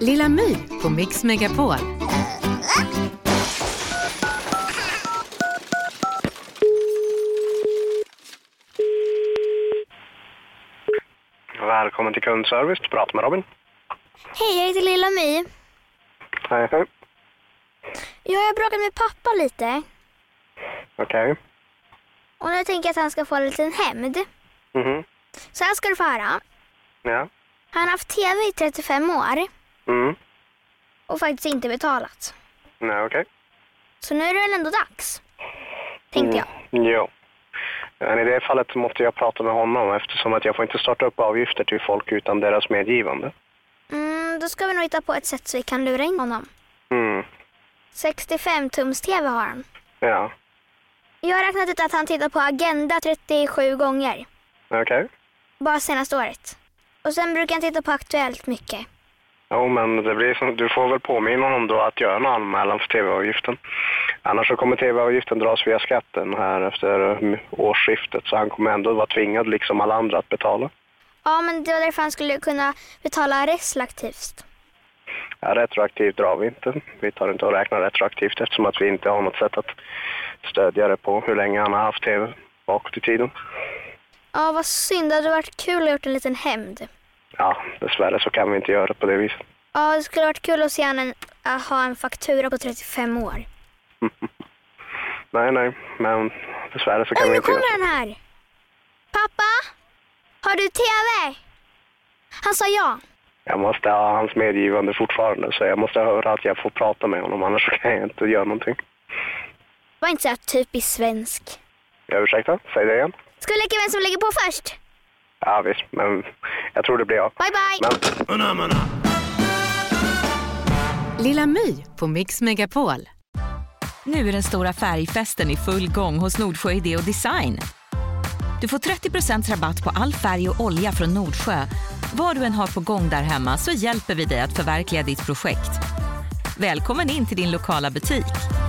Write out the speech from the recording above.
Lilla My på Mix Megapol. Välkommen till kundservice. Du pratar med Robin. Hej, jag heter Lilla My. Hej, hej. Jag har bråkat med pappa lite Okej. och nu tänker jag att han ska få en liten hämnd. Mhm. Så här ska du få höra. Ja. Han har haft tv i 35 år Mm. och faktiskt inte betalat. Nej, okej. Så nu är det väl ändå dags, tänkte jag. Mm. Jo. Men i det fallet måste jag prata med honom eftersom att jag får inte starta upp avgifter till folk utan deras medgivande. Mm, då ska vi nog hitta på ett sätt så vi kan lura in honom. Mm. 65-tums-tv har han. Ja. Jag har räknat ut att han tittar på Agenda 37 gånger, Okej. bara senaste året. Och sen brukar han titta på Aktuellt mycket. Jo, men det blir som, du får väl påminna honom då att göra en anmälan för tv-avgiften. Annars så kommer tv-avgiften dras via skatten här efter mm, årsskiftet så han kommer ändå vara tvingad liksom alla andra att betala. Ja, men det var därför han skulle kunna betala retroaktivt. Ja, retroaktivt drar vi inte. Vi tar inte och räknar retroaktivt eftersom att vi inte har något sätt att stödja det på hur länge han har haft tv bakåt i tiden. Ja, vad synd. Det hade varit kul att gjort en liten hämnd. Ja, dessvärre så kan vi inte göra det på det viset. Ja, det skulle varit kul att se han en, att ha en faktura på 35 år. Nej, nej, men dessvärre så kan Oj, vi nu inte göra kommer det. han här! Pappa! Har du TV? Han sa ja. Jag måste ha hans medgivande fortfarande så jag måste höra att jag får prata med honom annars så kan jag inte göra någonting. Var inte så här typiskt svensk. Ja, Ursäkta, säg det igen. Ska vi leka vem som lägger på först? Ja visst, men jag tror det blir jag. Bye, bye! Men Lilla My på Mix Megapol. Nu är den stora färgfesten i full gång hos Nordsjö Idé och Design. Du får 30 rabatt på all färg och olja från Nordsjö. Vad du än har på gång där hemma så hjälper vi dig att förverkliga ditt projekt. Välkommen in till din lokala butik.